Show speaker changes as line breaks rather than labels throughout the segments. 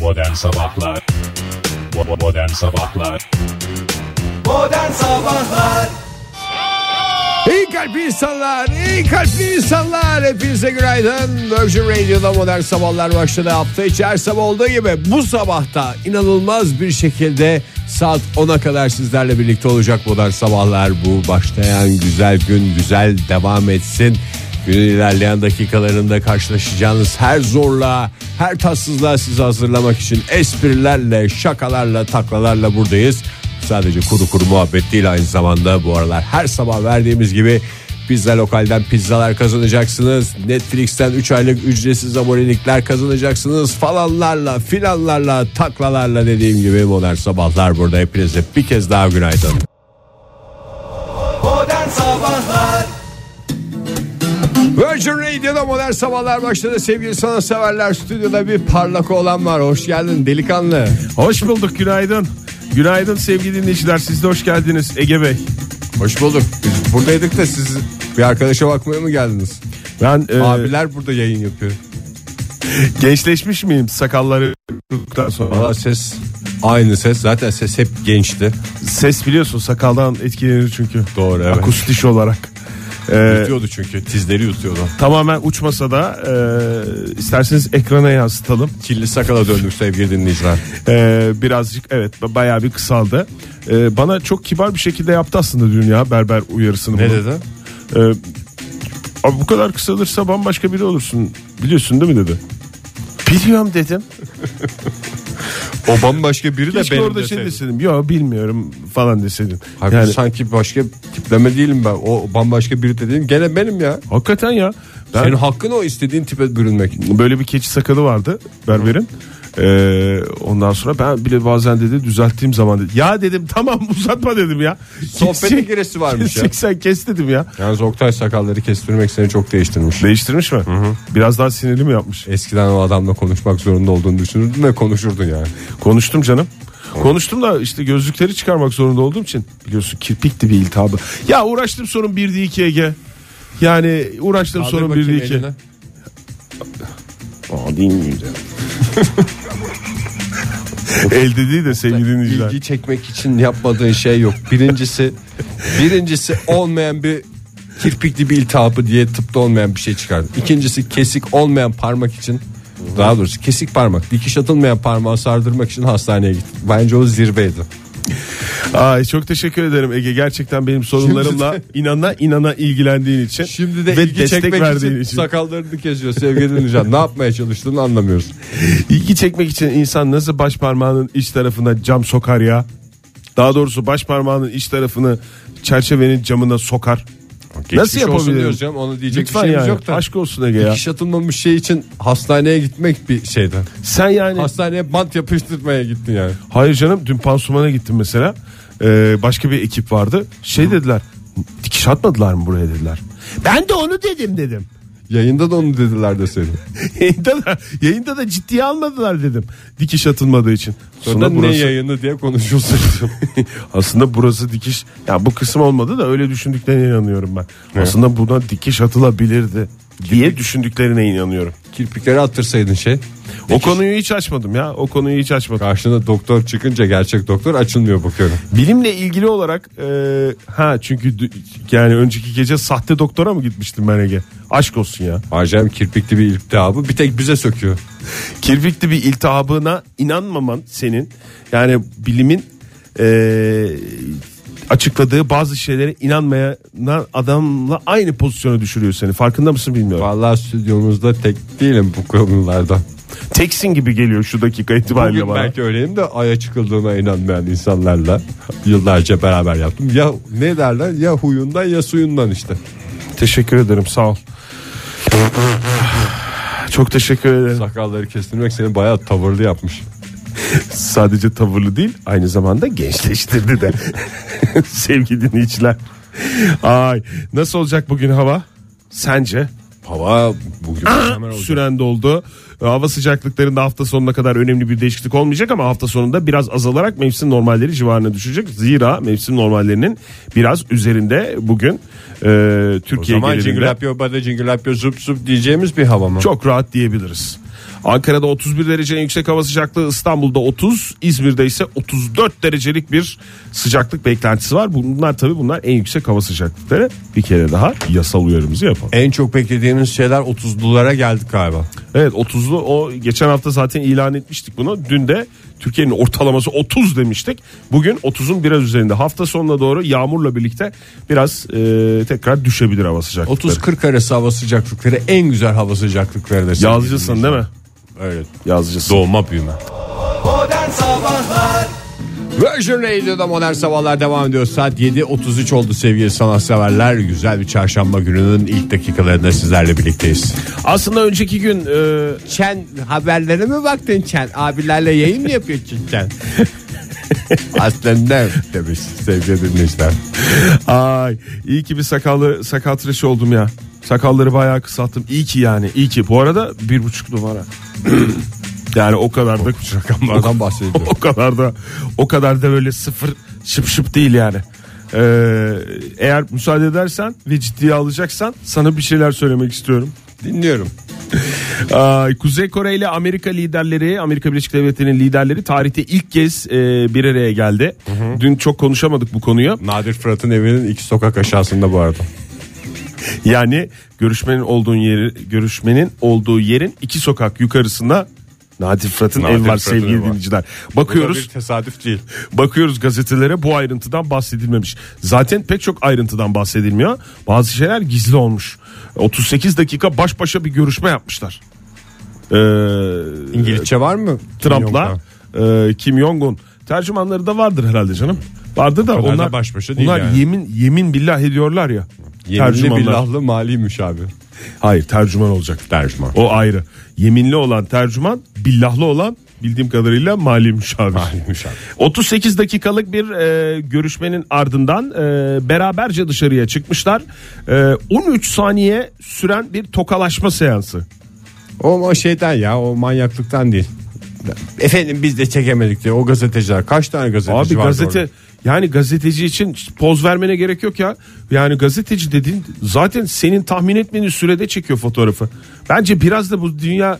Modern Sabahlar Bo- Modern Sabahlar
Modern Sabahlar
İyi kalpli insanlar, iyi kalpli insanlar. Hepinize günaydın. Virgin Radio'da modern sabahlar başladı. Hafta içi her sabah olduğu gibi bu sabahta inanılmaz bir şekilde saat 10'a kadar sizlerle birlikte olacak modern sabahlar. Bu başlayan güzel gün güzel devam etsin. Günün ilerleyen dakikalarında karşılaşacağınız her zorluğa, her tatsızlığa sizi hazırlamak için esprilerle, şakalarla, taklalarla buradayız. Sadece kuru kuru muhabbet değil aynı zamanda bu aralar her sabah verdiğimiz gibi pizza lokalden pizzalar kazanacaksınız. Netflix'ten 3 aylık ücretsiz abonelikler kazanacaksınız falanlarla filanlarla taklalarla dediğim gibi modern sabahlar burada hepinize bir kez daha günaydın.
Modern Sabahlar
Virgin Radio'da modern sabahlar başladı sevgili sanatseverler stüdyoda bir parlak olan var hoş geldin delikanlı.
Hoş bulduk günaydın. Günaydın sevgili dinleyiciler siz de hoş geldiniz Ege Bey.
Hoş bulduk biz buradaydık da siz bir arkadaşa bakmaya mı geldiniz?
Ben e,
Abiler burada yayın yapıyor.
gençleşmiş miyim sakalları kurduktan sonra?
Valla ses aynı ses zaten ses hep gençti.
Ses biliyorsun sakaldan etkilenir çünkü.
Doğru evet.
Akustiş olarak. E,
Yutuyordu çünkü tizleri yutuyordu.
tamamen uçmasa da e, isterseniz ekrana yansıtalım.
Kirli sakala döndük sevgili dinleyiciler.
E, birazcık evet b- bayağı bir kısaldı. E, bana çok kibar bir şekilde yaptı aslında dün ya berber uyarısını.
Ne
bunu.
dedi?
E, abi bu kadar kısalırsa bambaşka biri olursun biliyorsun değil mi dedi. Biliyorum dedim.
O bambaşka biri
Keşke orada şey deseydim. Yok bilmiyorum falan deseydim.
Hayır,
yani
sanki başka tipleme değilim ben. O bambaşka biri dediğim gene benim ya.
hakikaten ya. Ben
Senin hakkın o istediğin tipe bürünmek.
böyle bir keçi sakalı vardı berberin. Ee, ondan sonra ben bile bazen dedi düzelttiğim zaman dedi. Ya dedim tamam uzatma dedim ya.
Sohbete
Kesecek-
giresi varmış ya.
keseceksen kes dedim ya.
Yalnız Oktay sakalları kestirmek seni çok değiştirmiş.
Değiştirmiş mi? Biraz daha sinirli mi yapmış?
Eskiden o adamla konuşmak zorunda olduğunu düşünürdün ve konuşurdun yani.
Konuştum canım. Konuştum da işte gözlükleri çıkarmak zorunda olduğum için biliyorsun kirpikti bir iltihabı. Ya uğraştım sorun 1'di 2 Ege. Yani uğraştım
Kaldır
sorun
bakayım
1'di 2.
elini.
El dediği de sevgili dinleyiciler.
ilgi çekmek için yapmadığın şey yok. Birincisi birincisi olmayan bir kirpikli bir iltihabı diye tıpta olmayan bir şey çıkardın. İkincisi kesik olmayan parmak için daha doğrusu kesik parmak dikiş atılmayan parmağı sardırmak için hastaneye gittin. Bence o zirveydi.
Ay çok teşekkür ederim Ege. Gerçekten benim sorunlarımla inana inana ilgilendiğin için.
Şimdi de
ve
ilgi
destek
çekmek için,
verdiğin için.
sakallarını kesiyor sevgili dinleyiciler. ne yapmaya çalıştığını anlamıyoruz.
İlgi çekmek için insan nasıl baş parmağının iç tarafına cam sokar ya? Daha doğrusu baş parmağının iç tarafını çerçevenin camına sokar.
Geçmiş
nasıl
şey olsun
yapabilirim?
diyoruz canım, ona diyecek
Lütfen
bir şeyimiz
yani.
yok da.
Aşk olsun Ege ya.
Dikiş atılmamış şey için hastaneye gitmek bir şeydi.
Sen yani.
Hastaneye bant yapıştırmaya gittin yani.
Hayır canım dün pansumana gittim mesela. Ee, başka bir ekip vardı. Şey dediler. Dikiş atmadılar mı buraya dediler. Ben de onu dedim dedim.
Yayında da onu dediler de senin.
yayında da yayında da ciddiye almadılar dedim. Dikiş atılmadığı için.
Sonra
Aslında
ne
burası,
yayını diye konuşuyorsun.
aslında burası dikiş. Ya bu kısım olmadı da öyle düşündüklerine inanıyorum ben. Aslında buna dikiş atılabilirdi diye düşündüklerine inanıyorum.
Kirpikleri attırsaydın şey.
O konuyu hiç açmadım ya. O konuyu hiç açmadım.
Karşına doktor çıkınca gerçek doktor açılmıyor bakıyorum.
Bilimle ilgili olarak e, ha çünkü dü- yani önceki gece sahte doktora mı gitmiştim ben Ege? Aşk olsun ya.
Acem kirpikli bir iltihabı bir tek bize söküyor.
kirpikli bir iltihabına inanmaman senin yani bilimin eee, açıkladığı bazı şeylere inanmayana adamla aynı pozisyona düşürüyor seni. Farkında mısın bilmiyorum.
Vallahi stüdyomuzda tek değilim bu konularda.
Teksin gibi geliyor şu dakika itibariyle
Bugün
bana.
belki öyleyim de aya çıkıldığına inanmayan insanlarla yıllarca beraber yaptım. Ya ne derler ya huyundan ya suyundan işte.
Teşekkür ederim sağ ol. Çok teşekkür ederim.
Sakalları kestirmek seni bayağı tavırlı yapmış.
Sadece tavırlı değil aynı zamanda gençleştirdi de. Sevgili dinleyiciler. Ay nasıl olacak bugün hava? Sence?
Hava bugün mükemmel olacak.
süren doldu. E, Hava sıcaklıklarında hafta sonuna kadar önemli bir değişiklik olmayacak ama hafta sonunda biraz azalarak mevsim normalleri civarına düşecek. Zira mevsim normallerinin biraz üzerinde bugün e,
O
Türkiye
zaman
genelinde
cingül yapıyor bada cingül yapıyor zup zup diyeceğimiz bir hava mı?
çok rahat diyebiliriz. Ankara'da 31 derecenin yüksek hava sıcaklığı, İstanbul'da 30, İzmir'de ise 34 derecelik bir sıcaklık beklentisi var. Bunlar tabii bunlar en yüksek hava sıcaklıkları. Bir kere daha yasal uyarımızı yapalım.
En çok beklediğimiz şeyler 30'lulara geldik galiba.
Evet 30'lu o geçen hafta zaten ilan etmiştik bunu. Dün de Türkiye'nin ortalaması 30 demiştik. Bugün 30'un biraz üzerinde. Hafta sonuna doğru yağmurla birlikte biraz e, tekrar düşebilir hava sıcaklıkları.
30-40 arası hava sıcaklıkları en güzel hava sıcaklıklarıdır. sevgili
Yazıcısın değil mi?
Evet.
Yazıcısın.
Doğma büyüme.
Modern Sabahlar
Virgin Radio'da modern sabahlar devam ediyor. Saat 7.33 oldu sevgili sanatseverler. Güzel bir çarşamba gününün ilk dakikalarında sizlerle birlikteyiz.
Aslında önceki gün e,
Çen haberlere mi baktın Çen? Abilerle yayın mı yapıyorsun Çen? Aslında demiş sevgili dinleyiciler.
Ay iyi ki bir sakallı sakal tıraşı oldum ya. Sakalları bayağı kısalttım. İyi ki yani iyi ki. Bu arada bir buçuk numara. yani o kadar da
rakamlardan bahsediyor.
o kadar da o kadar da böyle sıfır şıp şıp değil yani. Ee, eğer müsaade edersen ve ciddiye alacaksan sana bir şeyler söylemek istiyorum.
Dinliyorum.
Ay, Kuzey Kore ile Amerika liderleri, Amerika Birleşik Devletleri'nin liderleri tarihte ilk kez e, bir araya geldi. Dün çok konuşamadık bu konuyu.
Nadir Fırat'ın evinin iki sokak aşağısında bu arada.
Yani görüşmenin olduğu yeri görüşmenin olduğu yerin iki sokak yukarısında Nadir Fırat'ın
Nadir
ev var
Fırat'ın evi
sevgili
var.
dinleyiciler.
Bakıyoruz.
Bakıyoruz
tesadüf değil.
bakıyoruz gazetelere bu ayrıntıdan bahsedilmemiş. Zaten pek çok ayrıntıdan bahsedilmiyor. Bazı şeyler gizli olmuş. 38 dakika baş başa bir görüşme yapmışlar. Ee,
İngilizce var mı?
Trump'la e, Kim Jong-un tercümanları da vardır herhalde canım. Vardı da
kadar da
onlar
baş başa değil
Onlar
yani.
yemin yemin billah ediyorlar ya.
Yeminli
tercümanlar.
billahlı mali müşavir.
Hayır tercüman olacak.
Tercüman.
O ayrı. Yeminli olan tercüman, billahlı olan bildiğim kadarıyla mali müşavir.
Mali müşavir.
38 dakikalık bir e, görüşmenin ardından e, beraberce dışarıya çıkmışlar. E, 13 saniye süren bir tokalaşma seansı.
O, o şeyden ya o manyaklıktan değil. Efendim biz de çekemedik diye o gazeteciler kaç tane gazeteci
Abi
vardı
gazete
orada?
yani gazeteci için poz vermene gerek yok ya. Yani gazeteci dediğin zaten senin tahmin etmediğin sürede çekiyor fotoğrafı. Bence biraz da bu dünya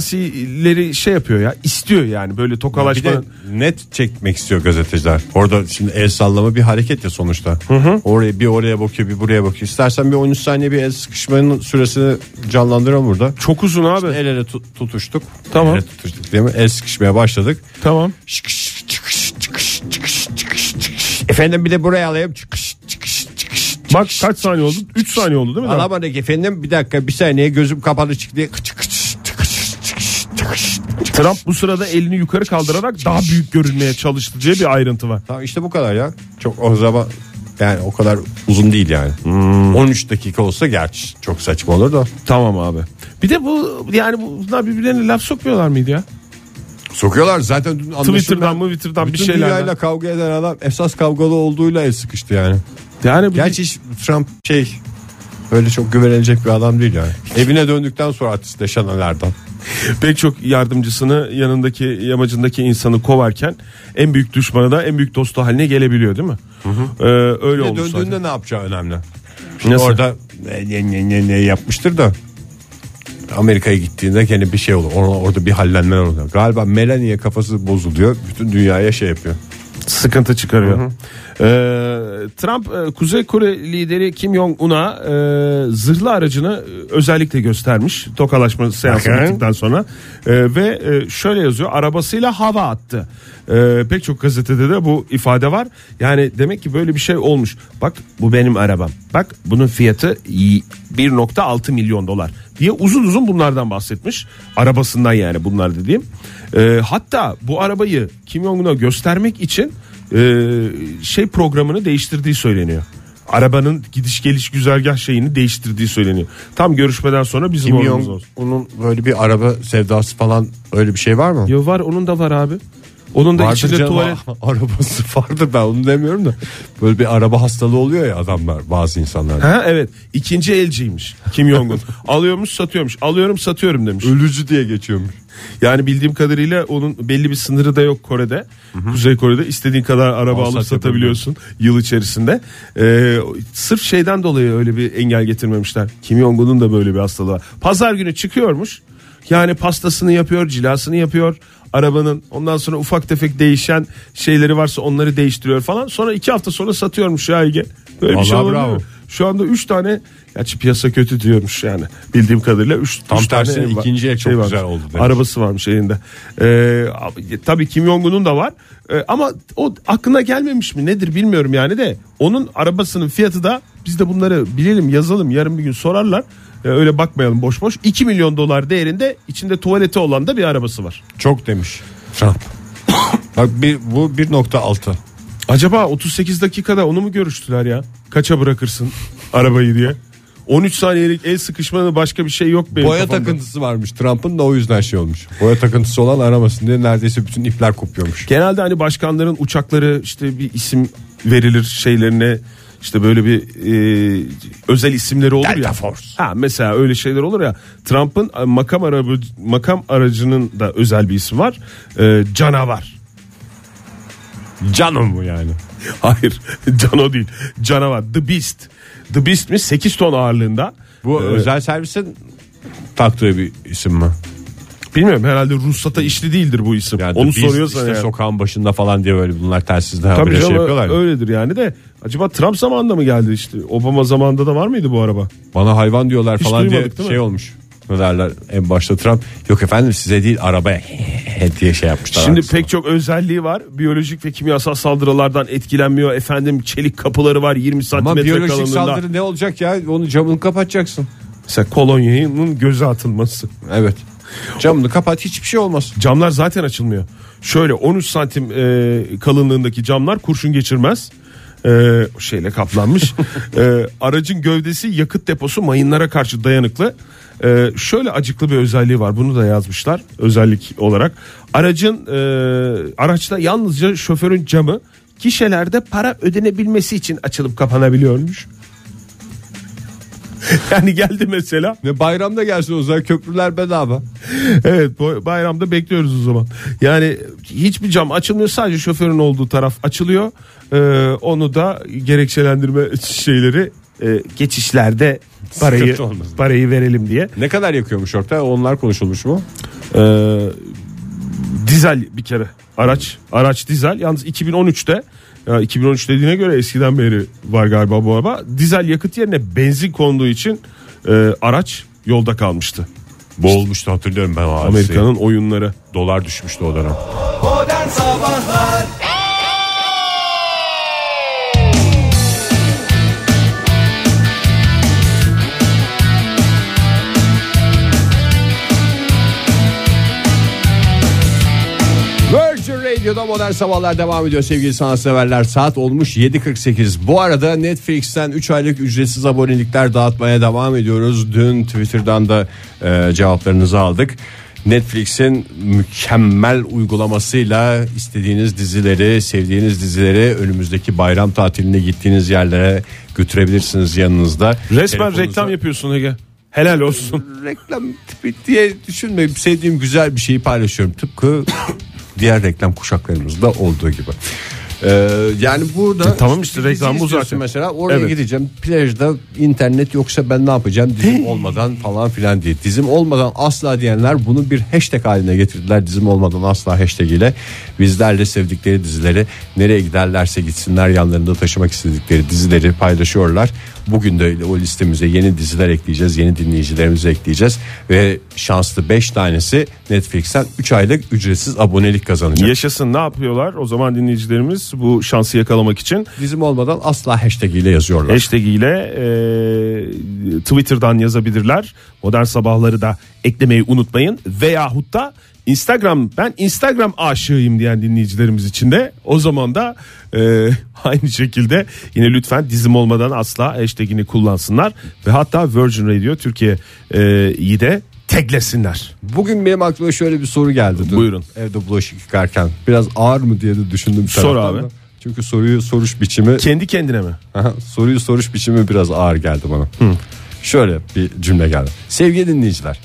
siyasileri şey yapıyor ya istiyor yani böyle
Bir
tokalaşmanın.
de net çekmek istiyor gazeteciler. Orada şimdi el sallama bir hareket ya sonuçta. Oraya bir oraya bakıyor bir buraya bakıyor. İstersen bir 13 saniye bir el sıkışmanın süresini canlandıralım burada.
Çok uzun abi.
El ele tu- tutuştuk.
Tamam.
El ele tutuştuk değil mi? El sıkışmaya başladık.
Tamam.
Çıkış çıkış çıkış çıkış çıkış çıkış. Efendim bir de buraya alayım. Çıkış çıkış çıkış.
Bak kaç saniye oldu? 3 saniye oldu değil mi?
Alamadık efendim bir dakika bir saniye gözüm kapalı çıktı diye kıç kıç tıkış tıkış tıkış tıkış.
Trump bu sırada elini yukarı kaldırarak daha büyük görünmeye çalıştı diye bir ayrıntı var.
Tamam işte bu kadar ya. Çok o zaman yani o kadar uzun değil yani. 13 dakika olsa gerçi çok saçma olur da.
Tamam abi. Bir de bu yani bunlar birbirlerine laf sokmuyorlar mıydı ya?
Sokuyorlar zaten dün anlaşılan-
Twitter'dan mı Twitter'dan bir
Bütün
şeylerden.
dünyayla kavga eden adam esas kavgalı olduğuyla el sıkıştı yani.
Yani bu-
Gerçi hiç Trump şey öyle çok güvenilecek bir adam değil yani. Evine döndükten sonra artistleşen alardan.
pek çok yardımcısını yanındaki yamacındaki insanı kovarken en büyük düşmanı da en büyük dostu haline gelebiliyor değil mi? Ee, öyle
Evine
olmuş
döndüğünde
zaten.
ne yapacağı önemli.
Nasıl?
Orada ne, ne, ne, ne, ne yapmıştır da Amerika'ya gittiğinde kendi bir şey olur. Ona, orada bir hallenmeler oluyor. Galiba Melania kafası bozuluyor. Bütün dünyaya şey yapıyor.
sıkıntı çıkarıyor. Ee, Trump e, Kuzey Kore lideri Kim Jong Un'a e, zırhlı aracını e, özellikle göstermiş. Tokalaşma seansı
Bakın.
bittikten sonra E, ve e, şöyle yazıyor arabasıyla hava attı. E, pek çok gazetede de bu ifade var. Yani demek ki böyle bir şey olmuş. Bak bu benim arabam. Bak bunun fiyatı y- 1.6 milyon dolar diye uzun uzun bunlardan bahsetmiş. Arabasından yani bunlar dediğim. E, hatta bu arabayı Kim Jong-un'a göstermek için e, şey programını değiştirdiği söyleniyor. Arabanın gidiş geliş güzergah şeyini değiştirdiği söyleniyor. Tam görüşmeden sonra bizim
Kim
oğlumuz
Jong
olsun.
onun böyle bir araba sevdası falan öyle bir şey var mı?
Yo var onun da var abi. Onun da
Vardır
içinde
canım,
tuvalet.
a- arabası vardır ben onu demiyorum da böyle bir araba hastalığı oluyor ya adamlar bazı insanlar.
Ha evet. ikinci elciymiş Kim Jong-un. Alıyormuş satıyormuş. Alıyorum satıyorum demiş.
Ölücü diye geçiyormuş.
Yani bildiğim kadarıyla onun belli bir sınırı da yok Kore'de. Kuzey Kore'de istediğin kadar araba
Al,
alıp
sat
satabiliyorsun yıl içerisinde. Ee, sırf şeyden dolayı öyle bir engel getirmemişler. Kim Jong-un'un da böyle bir hastalığı var. Pazar günü çıkıyormuş. Yani pastasını yapıyor, cilasını yapıyor arabanın. Ondan sonra ufak tefek değişen şeyleri varsa onları değiştiriyor falan. Sonra iki hafta sonra satıyormuş ya Ege. Böyle bir şey
Vallahi
olabilir
bravo.
mi? Şu anda üç tane gerçi piyasa kötü diyormuş yani bildiğim kadarıyla. Üç,
Tam
üç tane
tersine
ev var- Şey
ikinci el çok
varmış.
güzel oldu demiş.
Arabası varmış elinde. Ee, abi, tabii Kim Jong-un'un da var. Ee, ama o aklına gelmemiş mi nedir bilmiyorum yani de. Onun arabasının fiyatı da biz de bunları bilelim yazalım yarın bir gün sorarlar. Ee, öyle bakmayalım boş boş. 2 milyon dolar değerinde içinde tuvaleti olan da bir arabası var.
Çok demiş Trump. Bak bir, bu 1.6.
Acaba 38 dakikada onu mu görüştüler ya? Kaça bırakırsın arabayı diye. 13 saniyelik el sıkışmanın başka bir şey yok benim
Boya
kafamda.
takıntısı varmış Trump'ın da o yüzden şey olmuş. Boya takıntısı olan aramasın diye neredeyse bütün ipler kopuyormuş.
Genelde hani başkanların uçakları işte bir isim verilir şeylerine işte böyle bir e, özel isimleri olur ya. Ha mesela öyle şeyler olur ya. Trump'ın e, makam arabı makam aracının da özel bir ismi var. E, canavar.
Canım bu yani.
Hayır, Cano değil. Canavar. The Beast. The Beast mi? 8 ton ağırlığında.
Bu
Ee,
özel servisin taktığı bir isim mi?
bilmiyorum herhalde ruhsata işli değildir bu isim.
Yani
Onu
biz
soruyorsan
işte
yani.
sokağın başında falan diye böyle bunlar tersizde
Tabii
habire şey
canım,
yapıyorlar. ya.
öyledir yani de. Acaba Trump zamanında mı geldi işte? Obama zamanında da var mıydı bu araba?
Bana hayvan diyorlar
Hiç
falan diye
duymadık, değil mi?
şey olmuş. Ne derler en başta Trump yok efendim size değil arabaya diye şey yapmışlar.
Şimdi
arkasına.
pek çok özelliği var. Biyolojik ve kimyasal saldırılardan etkilenmiyor. Efendim çelik kapıları var 20
ama
santimetre
biyolojik
kalınlığında.
saldırı ne olacak ya onu camını kapatacaksın.
Mesela kolonya'nın göze atılması.
Evet. Camını kapat hiçbir şey olmaz.
Camlar zaten açılmıyor. Şöyle 13 santim e, kalınlığındaki camlar kurşun geçirmez. E, şeyle kaplanmış. E, aracın gövdesi yakıt deposu mayınlara karşı dayanıklı. E, şöyle acıklı bir özelliği var. Bunu da yazmışlar özellik olarak. Aracın e, araçta yalnızca şoförün camı gişelerde para ödenebilmesi için açılıp kapanabiliyormuş. yani geldi mesela
Ne bayramda gelsin o zaman köprüler bedava.
evet bu- bayramda bekliyoruz o zaman. Yani hiçbir cam açılmıyor sadece şoförün olduğu taraf açılıyor. Ee, onu da gerekçelendirme şeyleri e, geçişlerde parayı
Sıkıntı olmasın.
parayı verelim diye.
Ne kadar yakıyormuş orta onlar konuşulmuş mu?
Ee, dizel bir kere araç araç dizel yalnız 2013'te ya 2013 dediğine göre eskiden beri var galiba bu araba dizel yakıt yerine benzin konduğu için e, araç yolda kalmıştı.
Boğulmuştu hatırlıyorum ben o hadiseyi.
Amerika'nın oyunları.
Şey. dolar düşmüştü o dönem.
Modern Sabahlar
Virgin Radio'da modern sabahlar devam ediyor sevgili sanatseverler. Saat olmuş 7.48. Bu arada Netflix'ten 3 aylık ücretsiz abonelikler dağıtmaya devam ediyoruz. Dün Twitter'dan da e, cevaplarınızı aldık. Netflix'in mükemmel uygulamasıyla istediğiniz dizileri, sevdiğiniz dizileri önümüzdeki bayram tatiline gittiğiniz yerlere götürebilirsiniz yanınızda.
Resmen
Telefonunuza-
reklam yapıyorsun Ege. Helal olsun.
reklam tipi diye düşünme. Sevdiğim güzel bir şeyi paylaşıyorum. Tıpkı diğer reklam kuşaklarımızda olduğu gibi. Ee, yani burada
tamam işte
bir dizi
reklam bu
izliyorsun
zaten.
Mesela oraya
Evet.
gideceğim plajda internet yoksa ben ne yapacağım dizim olmadan falan filan diye. Dizim olmadan asla diyenler bunu bir hashtag haline getirdiler. Dizim olmadan asla hashtag ile bizlerle sevdikleri dizileri nereye giderlerse gitsinler yanlarında taşımak istedikleri dizileri paylaşıyorlar. Bugün de o listemize yeni diziler ekleyeceğiz. Yeni dinleyicilerimizi ekleyeceğiz. Ve şanslı 5 tanesi Netflix'ten 3 aylık ücretsiz abonelik kazanacak.
Yaşasın ne yapıyorlar? O zaman dinleyicilerimiz bu şansı yakalamak için
Dizim olmadan asla hashtag ile yazıyorlar.
hashtag ile e, Twitter'dan yazabilirler. Modern sabahları da eklemeyi unutmayın. Veyahut da Instagram ben Instagram aşığıyım diyen dinleyicilerimiz için de o zaman da e, aynı şekilde yine lütfen dizim olmadan asla hashtagini kullansınlar. Ve hatta Virgin Radio Türkiye'yi de taglesinler.
Bugün benim aklıma şöyle bir soru geldi. Dur.
Buyurun.
Evde bulaşık yıkarken biraz ağır mı diye de düşündüm. bir
Sor
taraftan
abi.
da. Çünkü soruyu soruş biçimi
Kendi kendine mi?
Aha, soruyu soruş biçimi biraz ağır geldi bana. Şöyle bir cümle geldi. Sevgili dinleyiciler.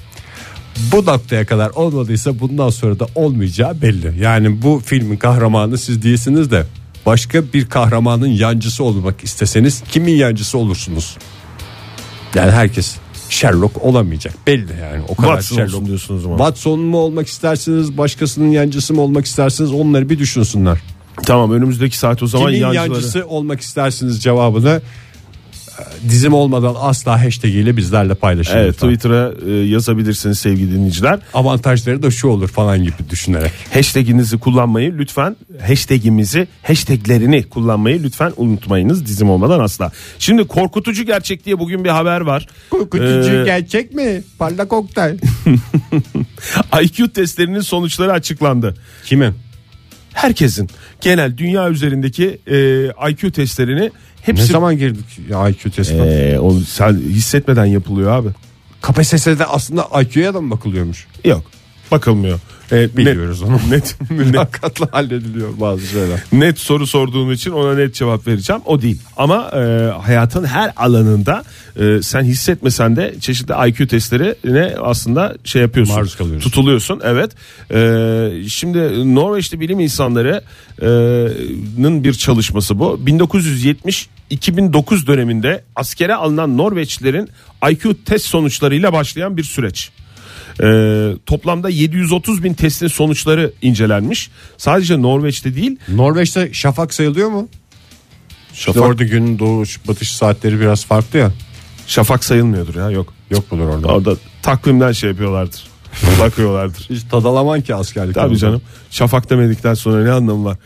Bu noktaya kadar olmadıysa bundan sonra da olmayacağı belli. Yani bu filmin kahramanı siz değilsiniz de başka bir kahramanın yancısı olmak isteseniz kimin yancısı olursunuz? Yani herkes Sherlock olamayacak belli yani o kadar
Watson olsun
Sherlock.
diyorsun o zaman.
Watson mu olmak istersiniz başkasının yancısı mı olmak istersiniz onları bir düşünsünler.
Tamam önümüzdeki saat o zaman
Kimin
yancıları.
yancısı olmak istersiniz cevabını e, dizim olmadan asla hashtag ile bizlerle paylaşın.
Evet
lütfen.
Twitter'a e, yazabilirsiniz sevgili dinleyiciler.
Avantajları da şu olur falan gibi düşünerek.
Hashtag'inizi kullanmayı lütfen hashtag'imizi hashtag'lerini kullanmayı lütfen unutmayınız dizim olmadan asla. Şimdi korkutucu gerçek diye bugün bir haber var. Ee,
gerçek mi? Parlak Oktay.
IQ testlerinin sonuçları açıklandı.
Kimin?
Herkesin genel dünya üzerindeki e, IQ testlerini
Ne
hepsi
zaman girdik ya IQ testine?
Ee, o sen hissetmeden yapılıyor abi.
KPSS'de aslında IQ'ya da mı bakılıyormuş?
Yok. Bakılmıyor. Ee,
Biliyoruz
net,
onu.
Net, net,
Katla hallediliyor bazı şeyler.
net soru sorduğun için ona net cevap vereceğim. O değil. Ama e, hayatın her alanında e, sen hissetmesen de çeşitli IQ testlerine aslında şey yapıyorsun.
Maruz kalıyorsun.
Tutuluyorsun. Evet. E, şimdi Norveçli bilim insanları'nın bir çalışması bu. 1970 2009 döneminde askere alınan Norveçlilerin IQ test sonuçlarıyla başlayan bir süreç. Ee, toplamda 730 bin testin sonuçları incelenmiş. Sadece Norveç'te değil
Norveç'te şafak sayılıyor mu? Şafak. orada günün doğuş batış saatleri biraz farklı ya.
Şafak sayılmıyordur ya yok.
Yok mudur orada?
Orada takvimden şey yapıyorlardır. Bakıyorlardır.
Hiç tadalaman ki askerlik.
Tabii canım. Şafak demedikten sonra ne anlamı var?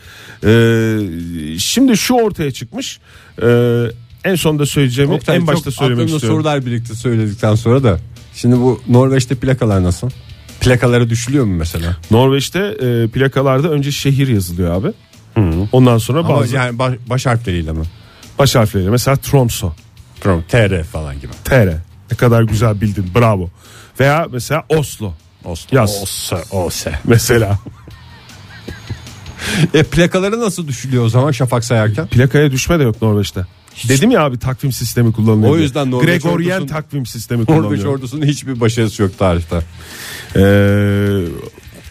Ee, şimdi şu ortaya çıkmış. Ee, en sonda söyleyeceğimi
Oktay,
en başta
çok
söylemek
aklımda
istiyorum.
sorular birlikte söyledikten sonra da. Şimdi bu Norveç'te plakalar nasıl? Plakalara düşülüyor mu mesela?
Norveç'te e, plakalarda önce şehir yazılıyor abi. Ondan sonra
Ama
bazı
yani baş, baş harfleriyle mi?
baş harfleri mesela Tromso,
Tamam, TR falan gibi.
TR. Ne kadar güzel bildin. Bravo. Veya mesela Oslo.
Oslo.
Yaz.
Osa, Osa.
Mesela
E plakaları nasıl düşülüyor o zaman şafak sayarken?
plakaya düşme de yok Norveç'te. Dedim ya abi takvim sistemi kullanılıyor.
O
diye.
yüzden Norveç
Gregorian
ordusunun-
takvim sistemi
Norveç
kullanılıyor.
ordusunun hiçbir başarısı yok tarihte.
Ee,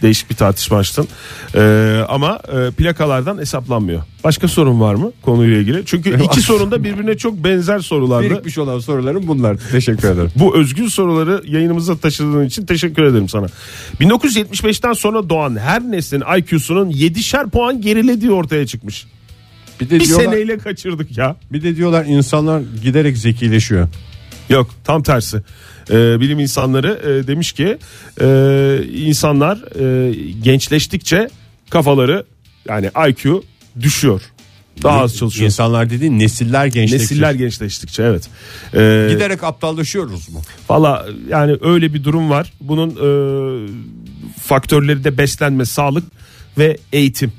değişik bir tartışma açtın. Ee, ama e, plakalardan hesaplanmıyor. Başka sorun var mı konuyla ilgili? Çünkü iki sorun da birbirine çok benzer sorulardı.
Birikmiş olan sorularım bunlar. Teşekkür ederim.
Bu özgün soruları yayınımıza taşıdığın için teşekkür ederim sana. 1975'ten sonra doğan her neslin IQ'sunun 7'şer puan gerilediği ortaya çıkmış.
Bir de
Bir
diyorlar,
seneyle kaçırdık ya.
bir de diyorlar insanlar giderek zekileşiyor.
Yok tam tersi. Ee, bilim insanları e, demiş ki e, insanlar e, gençleştikçe kafaları yani IQ düşüyor. Daha az çalışıyor.
İnsanlar dediğin nesiller gençleşiyor.
Nesiller gençleştikçe evet. Ee,
giderek aptallaşıyoruz mu?
Valla yani öyle bir durum var. Bunun e, faktörleri de beslenme, sağlık ve eğitim.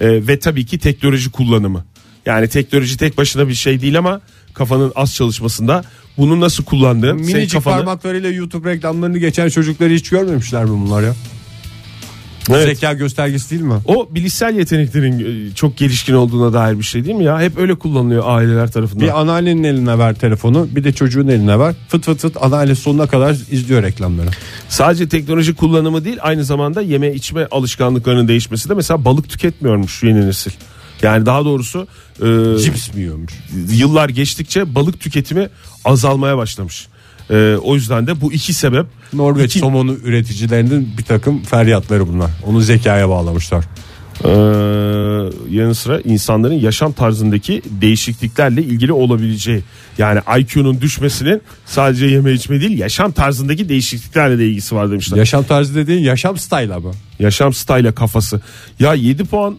E, ve tabii ki teknoloji kullanımı. Yani teknoloji tek başına bir şey değil ama kafanın az çalışmasında bunu nasıl kullandığın, senin
Minicik
kafanı-
parmaklarıyla YouTube reklamlarını geçen çocukları hiç görmemişler mi bunlar ya?
Evet.
Zeka göstergesi değil mi?
O bilişsel yeteneklerin e, çok gelişkin olduğuna dair bir şey değil mi ya? Hep öyle kullanılıyor aileler tarafından.
Bir anneannenin eline ver telefonu bir de çocuğun eline ver. Fıt fıt fıt anneanne sonuna kadar izliyor reklamları.
Sadece teknoloji kullanımı değil aynı zamanda yeme içme alışkanlıklarının değişmesi de mesela balık tüketmiyormuş yeni nesil. Yani daha doğrusu e,
Cips mi yiyormuş?
yıllar geçtikçe balık tüketimi azalmaya başlamış. E, o yüzden de bu iki sebep
Norveç
iki-
somonu üreticilerinin bir takım feryatları bunlar. Onu zekaya bağlamışlar.
Ee, yanı sıra insanların yaşam tarzındaki değişikliklerle ilgili olabileceği yani IQ'nun düşmesinin sadece yeme içme değil yaşam tarzındaki değişikliklerle de ilgisi var demişler.
Yaşam tarzı dediğin yaşam style ama.
yaşam style'a kafası. Ya 7 puan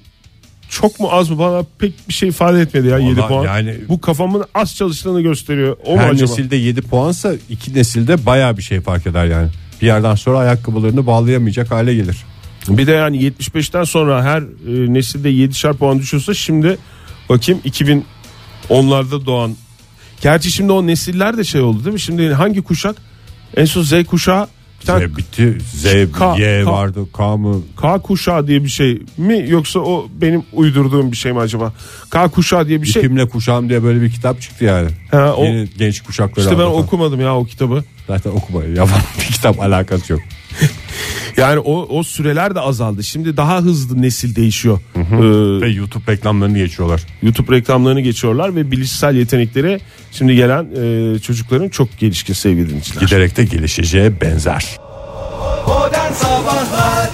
çok mu az mı bana pek bir şey ifade etmedi ya 7 puan.
yani-
Bu kafamın az çalıştığını gösteriyor. O mu
Her
acaba?
nesilde 7 puansa iki nesilde baya bir şey fark eder yani. Bir yerden sonra ayakkabılarını bağlayamayacak hale gelir.
Bir de yani 75'ten sonra her e, nesilde 7'şer puan düşüyorsa şimdi bakayım 2010'larda doğan. Gerçi şimdi o nesiller de şey oldu değil mi? Şimdi hangi kuşak? En son Z kuşağı bir tane
Z bitti. Z,
K-
Y
K-
vardı. K mı?
K kuşağı diye bir şey mi yoksa o benim uydurduğum bir şey mi acaba? K kuşağı diye bir şey.
Kimle kuşağım diye böyle bir kitap çıktı yani.
Ha, o-
Yeni genç kuşakları
İşte ben
anlatan.
okumadım ya o kitabı.
Zaten okumayı yapan bir kitap alakası yok.
Yani o o süreler de azaldı. Şimdi daha hızlı nesil değişiyor. Ee,
Ve YouTube reklamlarını geçiyorlar.
YouTube reklamlarını geçiyorlar ve bilişsel yeteneklere şimdi gelen e, çocukların çok gelişkin sevgili dinleyiciler.
Giderek de gelişeceğe benzer.
Modern Sabahlar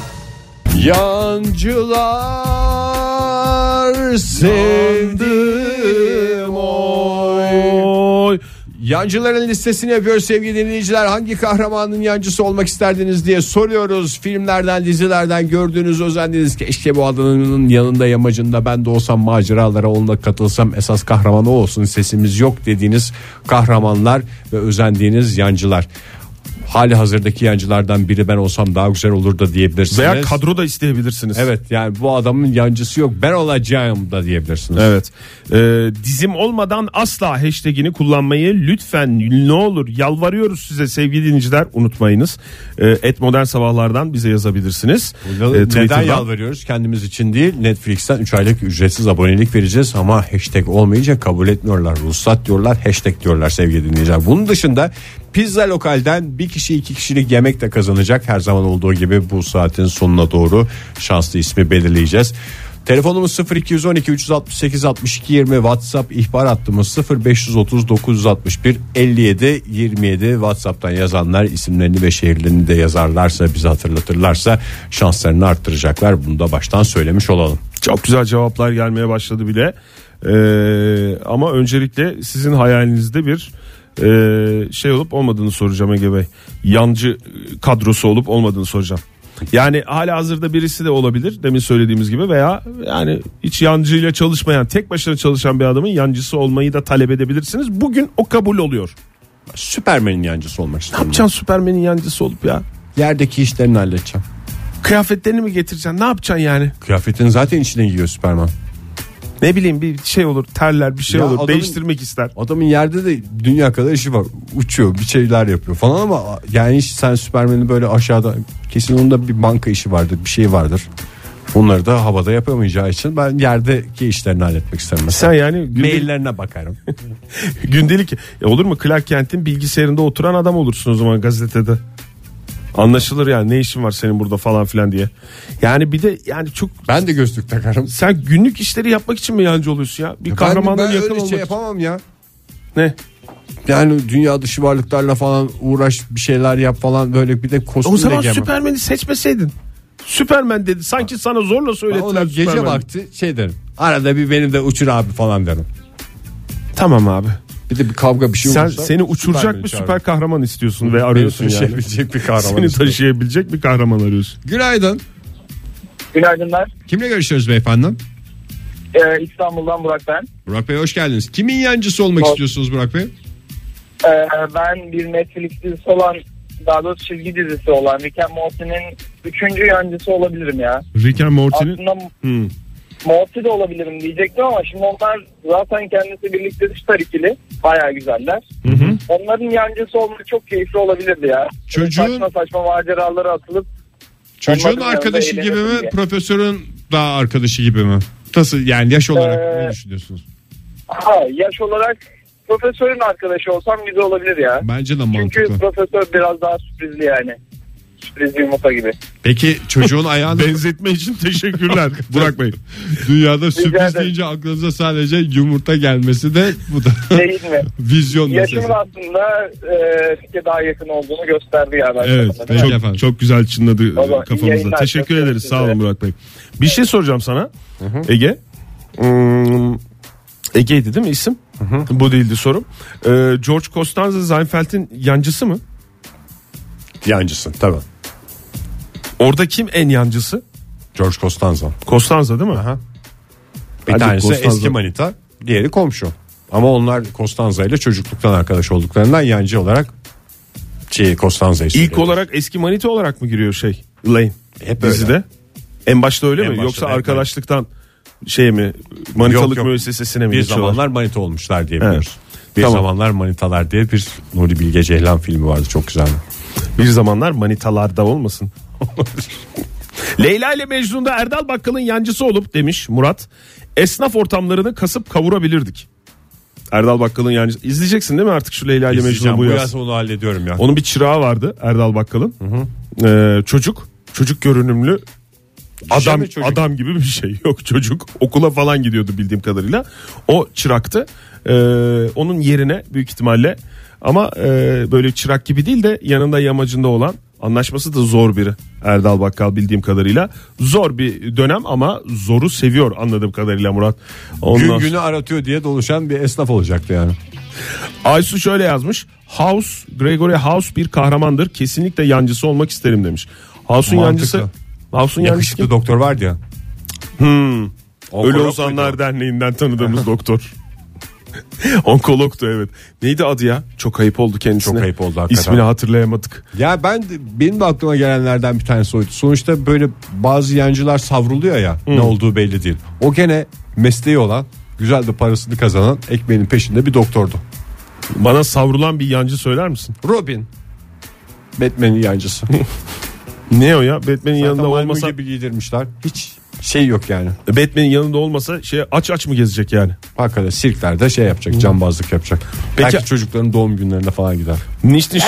Yancılar sevdim oy.
Yancıların listesini yapıyoruz sevgili dinleyiciler. Hangi kahramanın yancısı olmak isterdiniz diye soruyoruz. Filmlerden, dizilerden gördüğünüz, özendiniz. Keşke bu adamın yanında yamacında ben de olsam maceralara onunla katılsam. Esas kahraman o olsun sesimiz yok dediğiniz kahramanlar ve özendiğiniz yancılar. Hali hazırdaki yancılardan biri ben olsam daha güzel olur da diyebilirsiniz.
Veya kadro da isteyebilirsiniz.
Evet yani bu adamın yancısı yok ben olacağım da diyebilirsiniz.
Evet. Ee, dizim olmadan asla hashtagini kullanmayı lütfen ne olur yalvarıyoruz size sevgili dinleyiciler unutmayınız. Ee, et modern sabahlardan bize yazabilirsiniz. Ee,
Neden
Twitter'dan.
yalvarıyoruz? Kendimiz için değil. Netflix'ten 3 aylık ücretsiz abonelik vereceğiz ama hashtag olmayınca kabul etmiyorlar. Ruhsat diyorlar, hashtag diyorlar sevgili dinleyiciler. Bunun dışında pizza lokalden bir kişi iki kişilik yemek de kazanacak. Her zaman olduğu gibi bu saatin sonuna doğru şanslı ismi belirleyeceğiz. Telefonumuz 0212 368 62 20 WhatsApp ihbar hattımız 0530 961 57 27 WhatsApp'tan yazanlar isimlerini ve şehirlerini de yazarlarsa bizi hatırlatırlarsa şanslarını arttıracaklar. Bunu da baştan söylemiş olalım.
Çok güzel cevaplar gelmeye başladı bile. Ee, ama öncelikle sizin hayalinizde bir e, şey olup olmadığını soracağım Ege Bey. Yancı e, kadrosu olup olmadığını soracağım. Yani hala hazırda birisi de olabilir demin söylediğimiz gibi veya yani hiç yancıyla çalışmayan tek başına çalışan bir adamın yancısı olmayı da talep edebilirsiniz. Bugün o kabul oluyor.
Süpermen'in yancısı olmak istiyorum.
Can Süpermen'in yancısı olup ya
Yerdeki işlerini halledeceğim.
kıyafetlerini mi getireceksin ne yapacaksın yani?
Kıyafetini zaten içine giyiyor Süperman.
Ne bileyim bir şey olur terler bir şey
Ya
olur
adamın-
değiştirmek ister.
Adamın yerde de dünya kadar işi var. Uçuyor bir şeyler yapıyor falan ama yani hiç sen Süpermen'i böyle aşağıda kesin onda bir banka işi vardır bir şey vardır. Onları da havada yapamayacağı için ben yerdeki işlerini halletmek isterim.
Sen
Mesela.
yani gündelik-
Maillerine bakarım.
Gündelik Ya olur mu Clark Kent'in bilgisayarında oturan adam olursun o zaman gazetede. Anlaşılır yani ne işin var senin burada falan filan diye. Yani bir de yani çok
ben de gözlük takarım.
sen günlük işleri yapmak için mi yancı oluyorsun ya? Bir kahramanla
ben, ben
yakın
öyle
olmak.
şey yapamam ya.
ne?
Yani dünya dışı varlıklarla falan uğraş bir şeyler yap falan böyle bir de kostüm
O
de
zaman
giyemem.
Süpermen'i seçmeseydin. Süpermen dedi. Sanki sana zorla
Ben ona
söylettiler
gece
Süpermen'i.
vakti şey derim. Arada bir benim de uçur abi falan derim.
Tamam abi.
Bir de bir kavga bir şey
Sen
olursa
seni uçuracak
Süpermen'i
bir
çağırırım.
süper kahraman istiyorsun ve arıyorsun
Beni
yani.
taşıyabilecek bir şey- kahraman.
Seni
istiyorum.
taşıyabilecek bir kahraman arıyorsun.
Günaydın.
Günaydınlar.
Kimle görüşüyoruz beyefendi?
Ee, İstanbul'dan Burak ben.
Burak Bey hoş geldiniz. Kimin yancısı olmak
Hoş-
istiyorsunuz Burak Bey?
Ee, ben bir Netflix dizisi olan daha doğrusu çizgi dizisi olan Rick and Morty'nin üçüncü yancısı olabilirim ya.
Rick and Morty'nin
Aslında
Hmm.
Morty de olabilirim diyecektim ama şimdi onlar zaten kendisi birlikte süper ikili. Bayağı güzeller. Onların yancısı olmak çok keyifli olabilirdi ya. Böyle
Çocuğun-
Saçma saçma maceralara atılıp
Çocuğun
Olmadı
arkadaşı
yani,
gibi mi,
eğlenelim diye.
profesörün daha arkadaşı gibi mi? Nasıl yani yaş olarak
Ee,
ne düşünüyorsunuz?
ha, yaş olarak profesörün arkadaşı olsam güzel olabilir ya.
Bence de
Çünkü
mantıklı.
profesör biraz daha sürprizli yani. Sürpriz yumurta gibi.
Peki çocuğun ayağını
benzetme için teşekkürler Burak Bey.
dünyada
Rica
sürpriz
ederim.
deyince aklınıza sadece yumurta gelmesi de bu da
Değil mi?
vizyon
Yaşımın
meselesi.
aslında e, Fikre daha yakın olduğunu gösterdi yani.
Evet
Değil mi?
çok,
efendim.
çok güzel çınladı
Baba, iyi
kafamızda.
yayınlar.
Teşekkür
Görüşmek
ederiz sağ olun
üzere.
Murat Bey. Bir şey soracağım sana Ege. Hmm, Ege'ydi değil mi isim? Bu değildi sorum. Ee, George Costanza Seinfeld'in yancısı mı?
Yancısın tabii.
Orada kim en yancısı?
George Costanza.
Costanza değil mi?
Bir
Hadi
tanesi
Costanza.
eski manita, diğeri komşu. Ama onlar Costanza ile çocukluktan arkadaş olduklarından yancı olarak şey Costanza'yı
İlk
söylüyorum.
olarak eski manita olarak mı giriyor şey Elaine?
Hep öyle.
dizide. En başta öyle
En
mi?
başta
Yoksa
hep öyle.
arkadaşlıktan şey mi? Manitalık
Yok, yok.
müessesesine mi
bir
geçiyorlar?
zamanlar manita olmuşlar diye biliyoruz. Bir
Tamam.
zamanlar manitalar diye bir Nuri Bilge Ceylan filmi vardı çok güzeldi.
Bir zamanlar manitalarda olmasın. Leyla ile Mecnun'da Erdal Bakkal'ın yancısı olup demiş Murat. Esnaf ortamlarını kasıp kavurabilirdik. Erdal Bakkal'ın yancısı. İzleyeceksin değil mi artık şu Leyla ile Mecnun'u
İzleyeceğim,
bu
bu
yaz?
yaz onu hallediyorum ya.
Onun bir çırağı vardı Erdal Bakkal'ın. Ee, çocuk. çocuk görünümlü adam
mi çocuk?
adam gibi bir şey yok çocuk okula falan gidiyordu bildiğim kadarıyla o çıraktı Ee, onun yerine büyük ihtimalle ama e, böyle çırak gibi değil de yanında yamacında olan anlaşması da zor biri Erdal Bakkal bildiğim kadarıyla zor bir dönem ama zoru seviyor anladığım kadarıyla Murat Ondan
Gün günü aratıyor diye doluşan bir esnaf olacaktı yani.
Aysu şöyle yazmış. House, Gregory House bir kahramandır. Kesinlikle yancısı olmak isterim demiş. House'un
Mantıklı.
yancısı. House'un yancısı
Yakışıklı
kim?
doktor vardı ya. Hmm.
Ölü Ozanlar Derneği'nden tanıdığımız doktor. Onkologtu evet. Neydi adı ya? Çok ayıp oldu kendisine.
Çok ayıp oldu hakikaten.
İsmini hatırlayamadık.
Ya ben de- benim de aklıma gelenlerden bir tanesi oydu. Sonuçta böyle bazı yancılar savruluyor ya ne olduğu belli değil. O gene mesleği olan güzel de parasını kazanan ekmeğinin peşinde bir doktordu.
Bana savrulan bir yancı söyler misin?
Robin. Batman'in yancısı.
Ne o ya? Batman'in yanında
Yanında
olmasa
olmasa gibi giydirmişler. Hiç şey yok yani.
Batman'in yanında olmasa şey aç aç mı gezecek yani?
Hakikaten sirklerde şey yapacak cambazlık yapacak.
Peki-
Belki çocukların doğum günlerine falan gider.
Niş niş.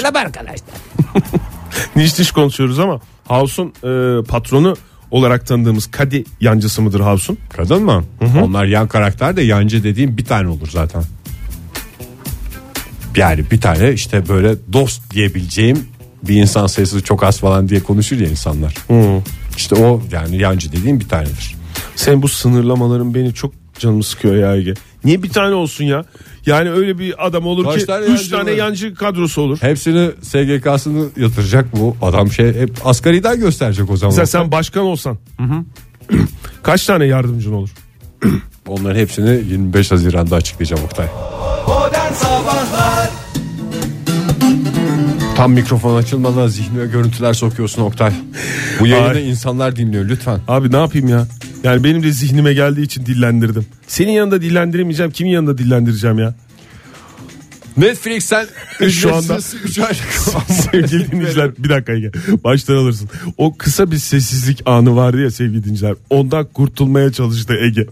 niş niş konuşuyoruz ama House'un e, patronu olarak tanıdığımız Kadi yancısı mıdır House'un?
Kadın mı? Onlar yan karakter de yancı dediğim bir tane olur zaten. Yani bir tane işte böyle dost diyebileceğim bir insan sayısı çok az falan diye konuşur ya insanlar. İşte o yani yancı dediğim bir tanedir.
Sen bu sınırlamaların beni çok canımı sıkıyor ya Ege. Niye bir tane olsun ya? Yani öyle bir adam olur
Kaç
ki
tane
üç
yancı
tane
var?
yancı kadrosu olur.
Hepsini SGK'sını yatıracak bu adam şey hep asgariden gösterecek o zaman.
Mesela sen başkan olsan. Kaç tane yardımcın olur?
Onların hepsini 25 Haziran'da açıklayacağım Oktay.
Modern Sabahlar
Tam mikrofon açılmadan zihnime görüntüler sokuyorsun Oktay. Bu yayını
Ay.
insanlar dinliyor lütfen.
Abi ne yapayım ya? Yani benim de zihnime geldiği için dillendirdim. Senin yanında dillendiremeyeceğim. Kimin yanında dillendireceğim ya?
Netflix'ten
Şu anda-
ücretsiz üç aylık
sevgili dinleyiciler bir dakika Ege. Baştan alırsın. O kısa bir sessizlik anı vardı ya sevgili dinleyiciler. Ondan kurtulmaya çalıştı Ege.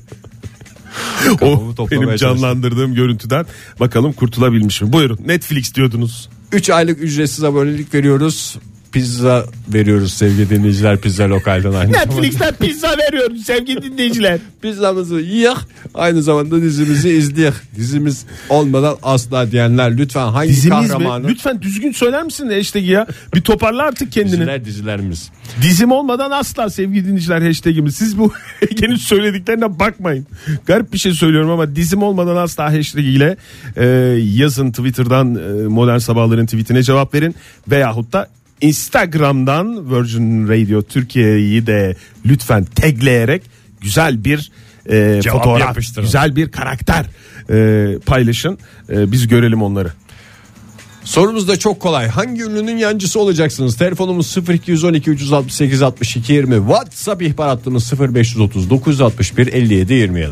o
toplamaya
benim canlandırdığım görüntüden bakalım kurtulabilmiş mi? Buyurun Netflix diyordunuz.
3 aylık ücretsiz abonelik veriyoruz. Pizza veriyoruz sevgili dinleyiciler pizza lokalden aynı zamanda.
pizza veriyorum sevgili dinleyiciler.
Pizzamızı yiyek aynı zamanda dizimizi izleyek. Dizimiz olmadan asla diyenler lütfen hangi
Dizimiz
kahramanı?
mi? Lütfen düzgün söyler misin hashtag'i ya? Bir toparla artık kendini.
Diziler dizilerimiz.
Dizim olmadan asla sevgili dinleyiciler hashtagimiz. Siz bu Ege'nin söylediklerine bakmayın. Garip bir şey söylüyorum ama dizim olmadan asla hashtagiyle e, yazın Twitter'dan e, modern sabahların tweetine cevap verin. Veyahut da Instagram'dan Virgin Radio Türkiye'yi de lütfen tagleyerek güzel bir e,
Cevap
fotoğraf,
yapıştırın.
güzel bir karakter e, paylaşın. E, biz görelim onları.
Sorumuz da çok kolay. Hangi ünlünün yancısı olacaksınız? Telefonumuz 0212 368 62 20. WhatsApp ihbar hattımız 0530 961 57 27.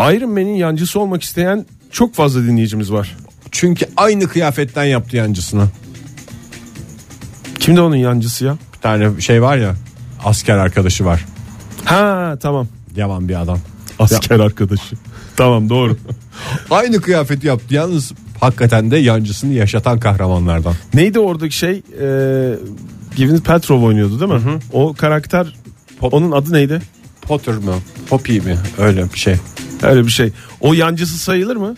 Iron Man'in yancısı olmak isteyen çok fazla dinleyicimiz var.
Çünkü aynı kıyafetten yaptı yancısını.
Kimde onun yancısı ya?
Bir tane şey var ya asker arkadaşı var.
Ha tamam.
Yaman bir adam.
Asker arkadaşı. Tamam doğru.
Aynı kıyafeti yaptı. Yalnız hakikaten de yancısını yaşatan kahramanlardan.
Neydi oradaki şey? Ee, Gwyneth Paltrow oynuyordu değil mi? O karakter onun adı neydi?
Potter mı? Poppy mi? Öyle bir şey.
Öyle bir şey. O yancısı sayılır mı?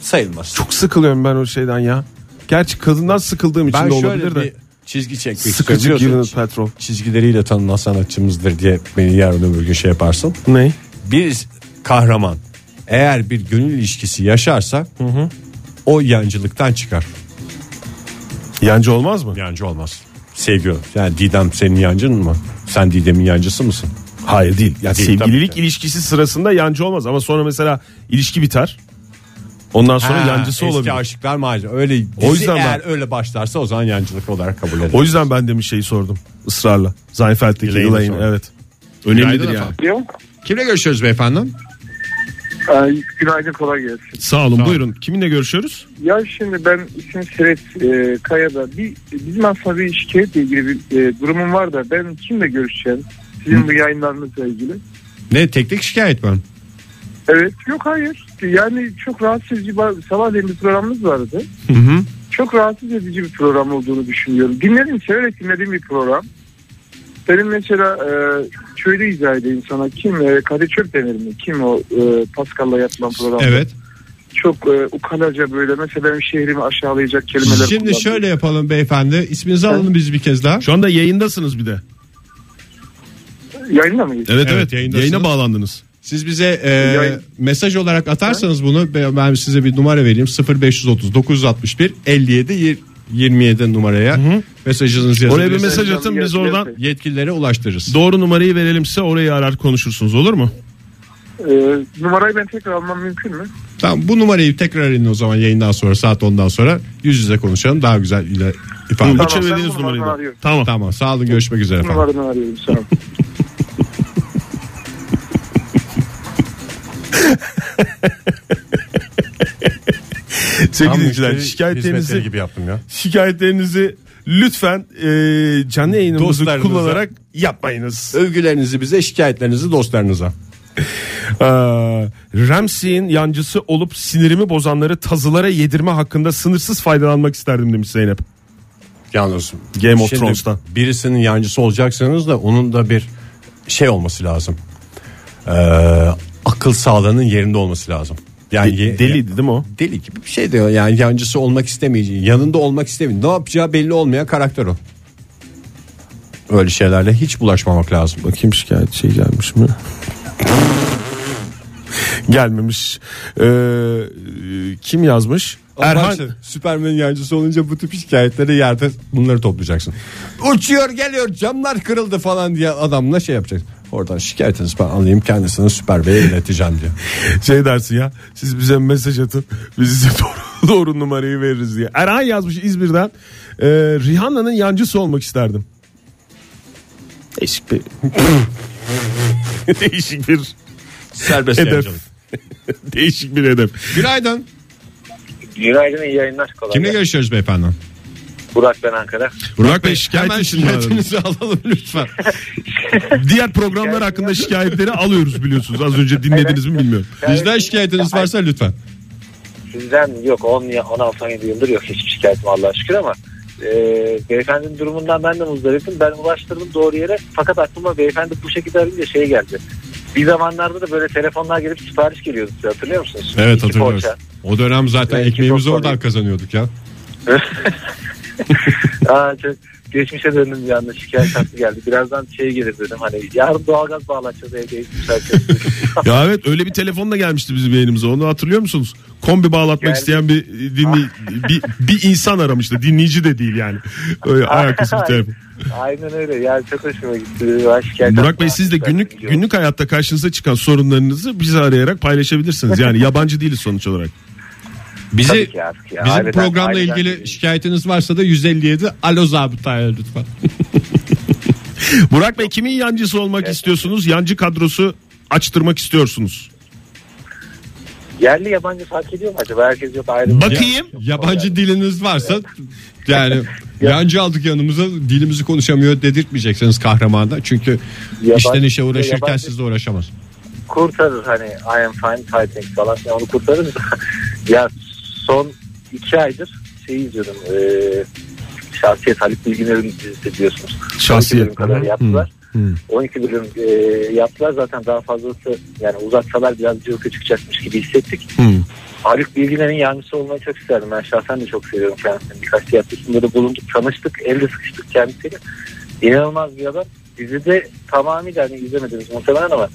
Sayılmaz.
Çok sıkılıyorum ben o şeyden ya. Gerçi kadından sıkıldığım için de
ben
olabilir
şöyle
de.
bir şey çizgi çekmek
Sıkıcı
istiyorum.
Gwyneth Paltrow.
Çizgileriyle tanınan sanatçımızdır diye beni yarın öbür gün şey yaparsın.
Ne?
Bir kahraman eğer bir gönül ilişkisi yaşarsa o yancılıktan çıkar.
Yancı olmaz mı?
Yancı olmaz. Sevgi olur. Yani Didem senin yancın mı? Sen Didem'in yancısı mısın?
Hayır değil. Yani
Değil,
sevgililik
tabii ki.
ilişkisi sırasında yancı olmaz ama sonra mesela ilişki biter. Ondan sonra
Ha,
yancısı
Eski
olabilir.
aşıklar macera. Öyle dizi
O yüzden
eğer
ben-
öyle başlarsa o zaman yancılık olarak kabul edilir.
O yüzden ben de bir şeyi sordum ısrarla. Seinfeld'deki
Elaine'i
Elaine
sordum.
evet. Önemlidir
Günaydın
yani.
Diyor.
Kimle görüşüyoruz beyefendi?
Ee, Günaydın kolay gelsin.
Sağ olun buyurun. Kiminle görüşüyoruz?
Ya şimdi ben isim Siret e, Kaya'da. Bir, bizim aslında bir şikayetle ilgili bir e, durumum var da ben kimle görüşeceğim? Sizin bu yayınlarınızla ilgili.
Ne tek tek şikayet mi?
Evet yok hayır. Yani çok rahatsız edici ba- sabahleyin bir programımız vardı. Çok rahatsız edici bir program olduğunu düşünüyorum. Dinledim severek dinlediğim bir program.
Benim mesela e, şöyle izah edeyim sana. Kim e, Kadir Çöp denir mi? Kim o e, Pascal'la yapılan program?
Evet.
Çok e, ukalaca böyle mesela benim şehrimi aşağılayacak kelimeler kullandı.
Şimdi şöyle yapalım beyefendi. İsminizi alalım biz bir kez daha.
Şu anda yayındasınız bir de.
Yayında mıyız?
Evet
Evet,
evet.
yayındasınız.
Yayına bağlandınız.
Siz bize e,
Yayın-
mesaj olarak atarsanız bunu ben ben size bir numara vereyim. 0530 961 57 27 numaraya mesajınızı yazın.
Oraya bir
Biz
mesaj atın biz oradan
yetkililere ulaştırırız.
doğru numarayı verelim size orayı arar konuşursunuz olur mu?
E, numarayı ben tekrar almam mümkün mü?
Tamam bu numarayı tekrar edin o zaman yayından sonra saat 10'dan sonra yüz yüze konuşalım. Daha güzel ile ifade.
Bu
Tamam, ben
çevirdiğiniz
bu
numarayı
numaradan
da.
arıyorum.
Tamam.
Tamam sağ olun görüşmek üzere efendim.
Numaranı arıyorum sağ ol.
Sevgili
Tam
dinleyiciler
müşteri hizmetleri
şikayetlerinizi
gibi yaptım ya.
şikayetlerinizi lütfen e, canlı yayınımızı
Dostlarınıza.
kullanarak yapmayınız.
Övgülerinizi bize şikayetlerinizi dostlarınıza.
Ee, Ramsey'in yancısı olup sinirimi bozanları tazılara yedirme hakkında sınırsız faydalanmak isterdim demiş Zeynep.
Yalnız
Game of
şimdi
Thrones'tan.
Birisinin yancısı olacaksanız da onun da bir şey olması lazım. Ee, akıl sağlığının yerinde olması lazım. Yani ye-
Deliydi değil mi o?
deli gibi bir şey diyor. Yani yancısı olmak istemeyeceği, yanında olmak istemiyor. Ne yapacağı belli olmayan karakter o. Öyle şeylerle hiç bulaşmamak lazım.
Bakayım şikayet şey gelmiş mi? Gelmemiş. Ee, kim yazmış? Erhan.
Süpermen'in yancısı olunca bu tip şikayetlere yerde bunları toplayacaksın. Uçuyor geliyor camlar kırıldı falan diye adamla şey yapacaksın. Oradan şikayetiniz ben alayım kendisini Süper Bey'e ileteceğim diye.
Şey dersin ya siz bize mesaj atın biz size doğru, doğru numarayı veririz diye. Erhan yazmış İzmir'den. Ee, Rihanna'nın yancısı olmak isterdim. Değişik bir... Değişik bir
Serbest
hedef. Değişik bir hedef.
Günaydın.
Günaydın iyi yayınlar. Kolay
Kimle
gelsin.
görüşüyoruz beyefendi?
Burak ben Ankara.
Burak Bey şikayet
hemen
için şikayetinizi alalım lütfen.
Diğer programlar hakkında şikayetleri alıyoruz biliyorsunuz. Az önce dinlediniz mi bilmiyorum.
Bizden şikayetiniz varsa lütfen.
Sizden yok 10 ya- 16-17 yıldır yok hiçbir şikayetim Allah'a şükür ama e, beyefendinin durumundan ben de muzdaripim. Ben ulaştırdım doğru yere fakat aklıma beyefendi bu şekilde arayınca şey geldi. Bir zamanlarda da böyle telefonlar gelip sipariş geliyordu size hatırlıyor musunuz?
Evet
İki
hatırlıyoruz.
poğaça.
O dönem zaten
Belki
ekmeğimizi
doktor
oradan
değil.
kazanıyorduk ya.
Aa, çok geçmişe döndüm bir anda şikayet hakkı geldi. Birazdan şey gelir dedim hani yarın doğalgaz bağlanacağız evdeyiz.
Ya evet öyle bir telefonla gelmişti bizim yayınımıza. Onu hatırlıyor musunuz? Kombi bağlatmak
Geldi. Ah.
isteyen bir dinli bir, bir insan aramıştı. Dinleyici de değil yani. Öyle
Ah.
alakası bir telefon.
Aynen öyle yani çok hoşuma gitti. Ben şikayet
Burak
hakkı
Bey siz de
aldım.
günlük günlük hayatta karşınıza çıkan sorunlarınızı bizi arayarak paylaşabilirsiniz. Yani yabancı değiliz sonuç olarak.
Bizi
Tabii ki artık ya.
Bizim
Aileden-
programla
aileden
ilgili
değil.
şikayetiniz varsa da 157 alo zabıtaya lütfen.
Burak Bey kimin yancısı olmak istiyorsunuz? Yancı kadrosu açtırmak istiyorsunuz.
Yerli yabancı fark ediyor mu acaba? Herkes yok ayrı. şey.
Bakayım.
Yabancı diliniz varsa yani yancı aldık yanımıza dilimizi konuşamıyor dedirtmeyeceksiniz kahramanda. Çünkü
Yabancı-
işten işe uğraşırken
yabancı-
sizle uğraşamaz.
Kurtarır hani I am fine fighting falan. Yani onu kurtarır da. ya son iki aydır şey izliyordum. eee şahsiyet Haluk Bilginer'in dizisi biliyorsunuz.
Şahsiyet.
12 bölüm kadar yaptılar. 12 bölüm eee, yaptılar zaten daha fazlası yani uzatsalar biraz cılkı çıkacakmış gibi hissettik. Haluk Bilginer'in yancısı olmayı çok isterdim. Ben şahsen de çok seviyorum kendisini. Birkaç tiyatrosunda da bulunduk, tanıştık, elde sıkıştık kendisiyle. İnanılmaz bir adam. Dizide tamamıyla hani izlemediniz muhtemelen ama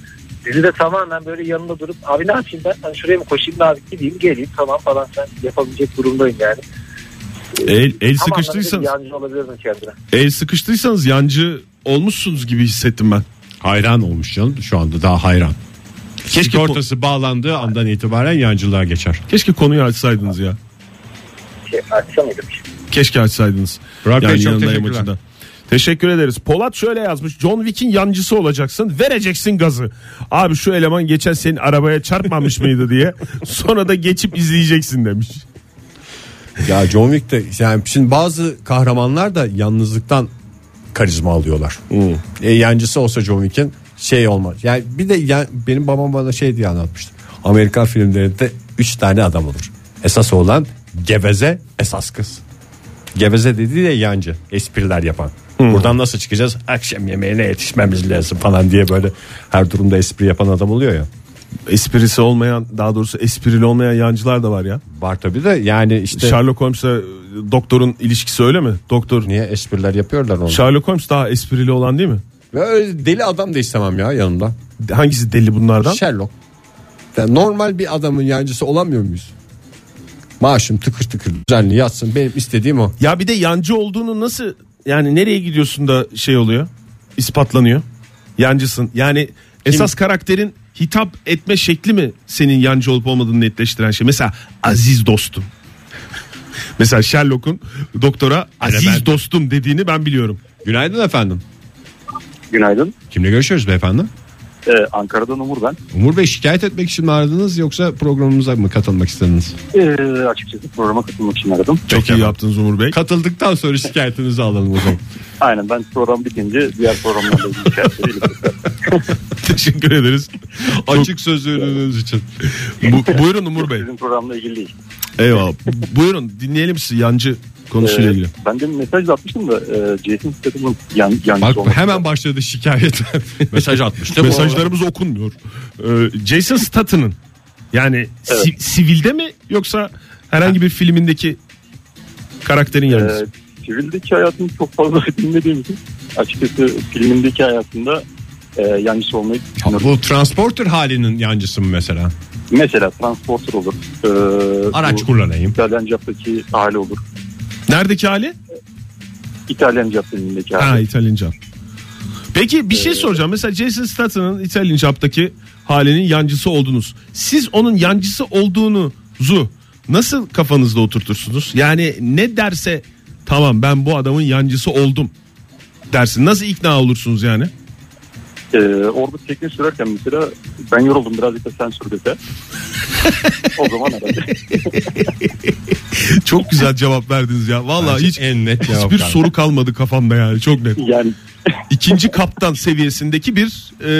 dizide tamamen böyle yanında durup abi ne yapayım ben? Hani şuraya mı koşayım da abi gideyim geleyim tamam falan sen yapabilecek durumdayım yani.
El, el
Tamamen bir
sıkıştıysanız,
Yancı olabilirdim kendine.
el sıkıştıysanız yancı olmuşsunuz gibi hissettim ben.
Hayran olmuş canım şu anda daha hayran.
Keşke
Sigortası bağlandığı andan itibaren yancılığa geçer.
Keşke konuyu açsaydınız ya.
Şey, akşam yedim.
Keşke açsaydınız.
Burak Bey, çok
yanındayım
teşekkürler.
açıdan. Teşekkür ederiz. Polat şöyle yazmış. John Wick'in yancısı olacaksın. Vereceksin gazı. Abi şu eleman geçen senin arabaya çarpmamış mıydı diye. Sonra da geçip izleyeceksin demiş.
Ya John Wick de yani şimdi bazı kahramanlar da yalnızlıktan karizma alıyorlar.
Hmm.
E, yancısı olsa John Wick'in şey olmaz. Yani bir de ya- benim babam bana şey diye anlatmıştı. Amerikan filmlerinde 3 tane adam olur. Esas olan geveze esas kız. Geveze dediği de yancı. Espriler yapan. Buradan nasıl çıkacağız? Akşam yemeğine yetişmemiz lazım falan diye böyle her durumda espri yapan adam oluyor ya.
Esprisi olmayan daha doğrusu esprili olmayan yancılar da var ya.
Var tabii de yani işte
Sherlock Holmes'la doktorun ilişkisi öyle mi? Doktor
niye espriler yapıyorlar onu?
Sherlock Holmes daha esprili olan değil mi?
Ve öyle deli adam da istemem ya yanımda.
Hangisi deli bunlardan?
Sherlock. Ya normal bir adamın yancısı olamıyor muyuz? Maaşım tıkır tıkır düzenli yatsın benim istediğim o.
Ya bir de yancı olduğunu nasıl yani nereye gidiyorsun da şey oluyor? ispatlanıyor. Yancısın. Yani esas karakterin hitap etme şekli mi senin yancı olup olmadığını netleştiren şey? Mesela aziz dostum. Mesela Sherlock'un doktora aziz
ben-
dostum dediğini ben biliyorum.
Günaydın efendim.
Günaydın.
Kimle görüşüyoruz beyefendi?
Ee, Ankara'dan Umur ben.
Umur Bey şikayet etmek için mi aradınız yoksa programımıza mı katılmak istediniz?
Ee, açıkçası programa katılmak için aradım.
Çok iyi yaptınız Umur Bey.
Katıldıktan sonra şikayetinizi alalım o zaman.
Aynen ben program bitince diğer programlarla ilgili şartları iletirdim.
Teşekkür ederiz.
Açık sözlüğünüz için.
Bu- buyurun Umur Bey.
Sizin programla ilgili değil.
Eyvallah. Buyurun dinleyelim sizi yancı konusuyla
Ee,
ilgili.
ben de mesaj da atmıştım da e, Jason Statham'ın yan,
Bak
yancısı olmak.
hemen başladı şikayet. Mesaj atmıştı.
Mesajlarımız okunmuyor. Ee, Jason Statham'ın yani si- sivilde mi yoksa herhangi bir filmindeki karakterin
Ee,
yancısı?
sivildeki hayatını çok fazla dinlediğim için açıkçası filmindeki hayatında e, yancısı olmayı düşünüyorum.
Bu transporter halinin yancısı mı mesela?
Mesela transporter olur. Ee,
Araç
bu
kullanayım.
İtalyan Cap'taki hali olur.
Neredeki hali?
İtalyan Cap filmindeki
Ha
hali.
İtalyanca. Peki bir şey
Ee,
soracağım. Mesela Jason Statham'ın İtalyan Job'daki halinin yancısı oldunuz. Siz onun yancısı olduğunuzu nasıl kafanızda oturtursunuz? Yani ne derse tamam ben bu adamın yancısı oldum dersin. Nasıl ikna olursunuz yani?
Ee, orada tekne sürerken mesela ben yoruldum birazcık da sen sür dese. o zaman herhalde.
Çok güzel cevap verdiniz ya. Vallahi hiç
en net cevap
hiçbir
verdi.
soru kalmadı kafamda yani çok net.
Yani
İkinci kaptan seviyesindeki bir e,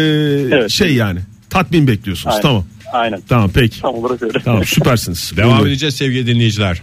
Evet.
şey yani. Tatmin bekliyorsunuz.
Aynen.
Tamam.
aynen
Tamam peki.
tam olarak öyle.
Tamam süpersiniz.
Devam
Buyurun.
edeceğiz sevgili dinleyiciler.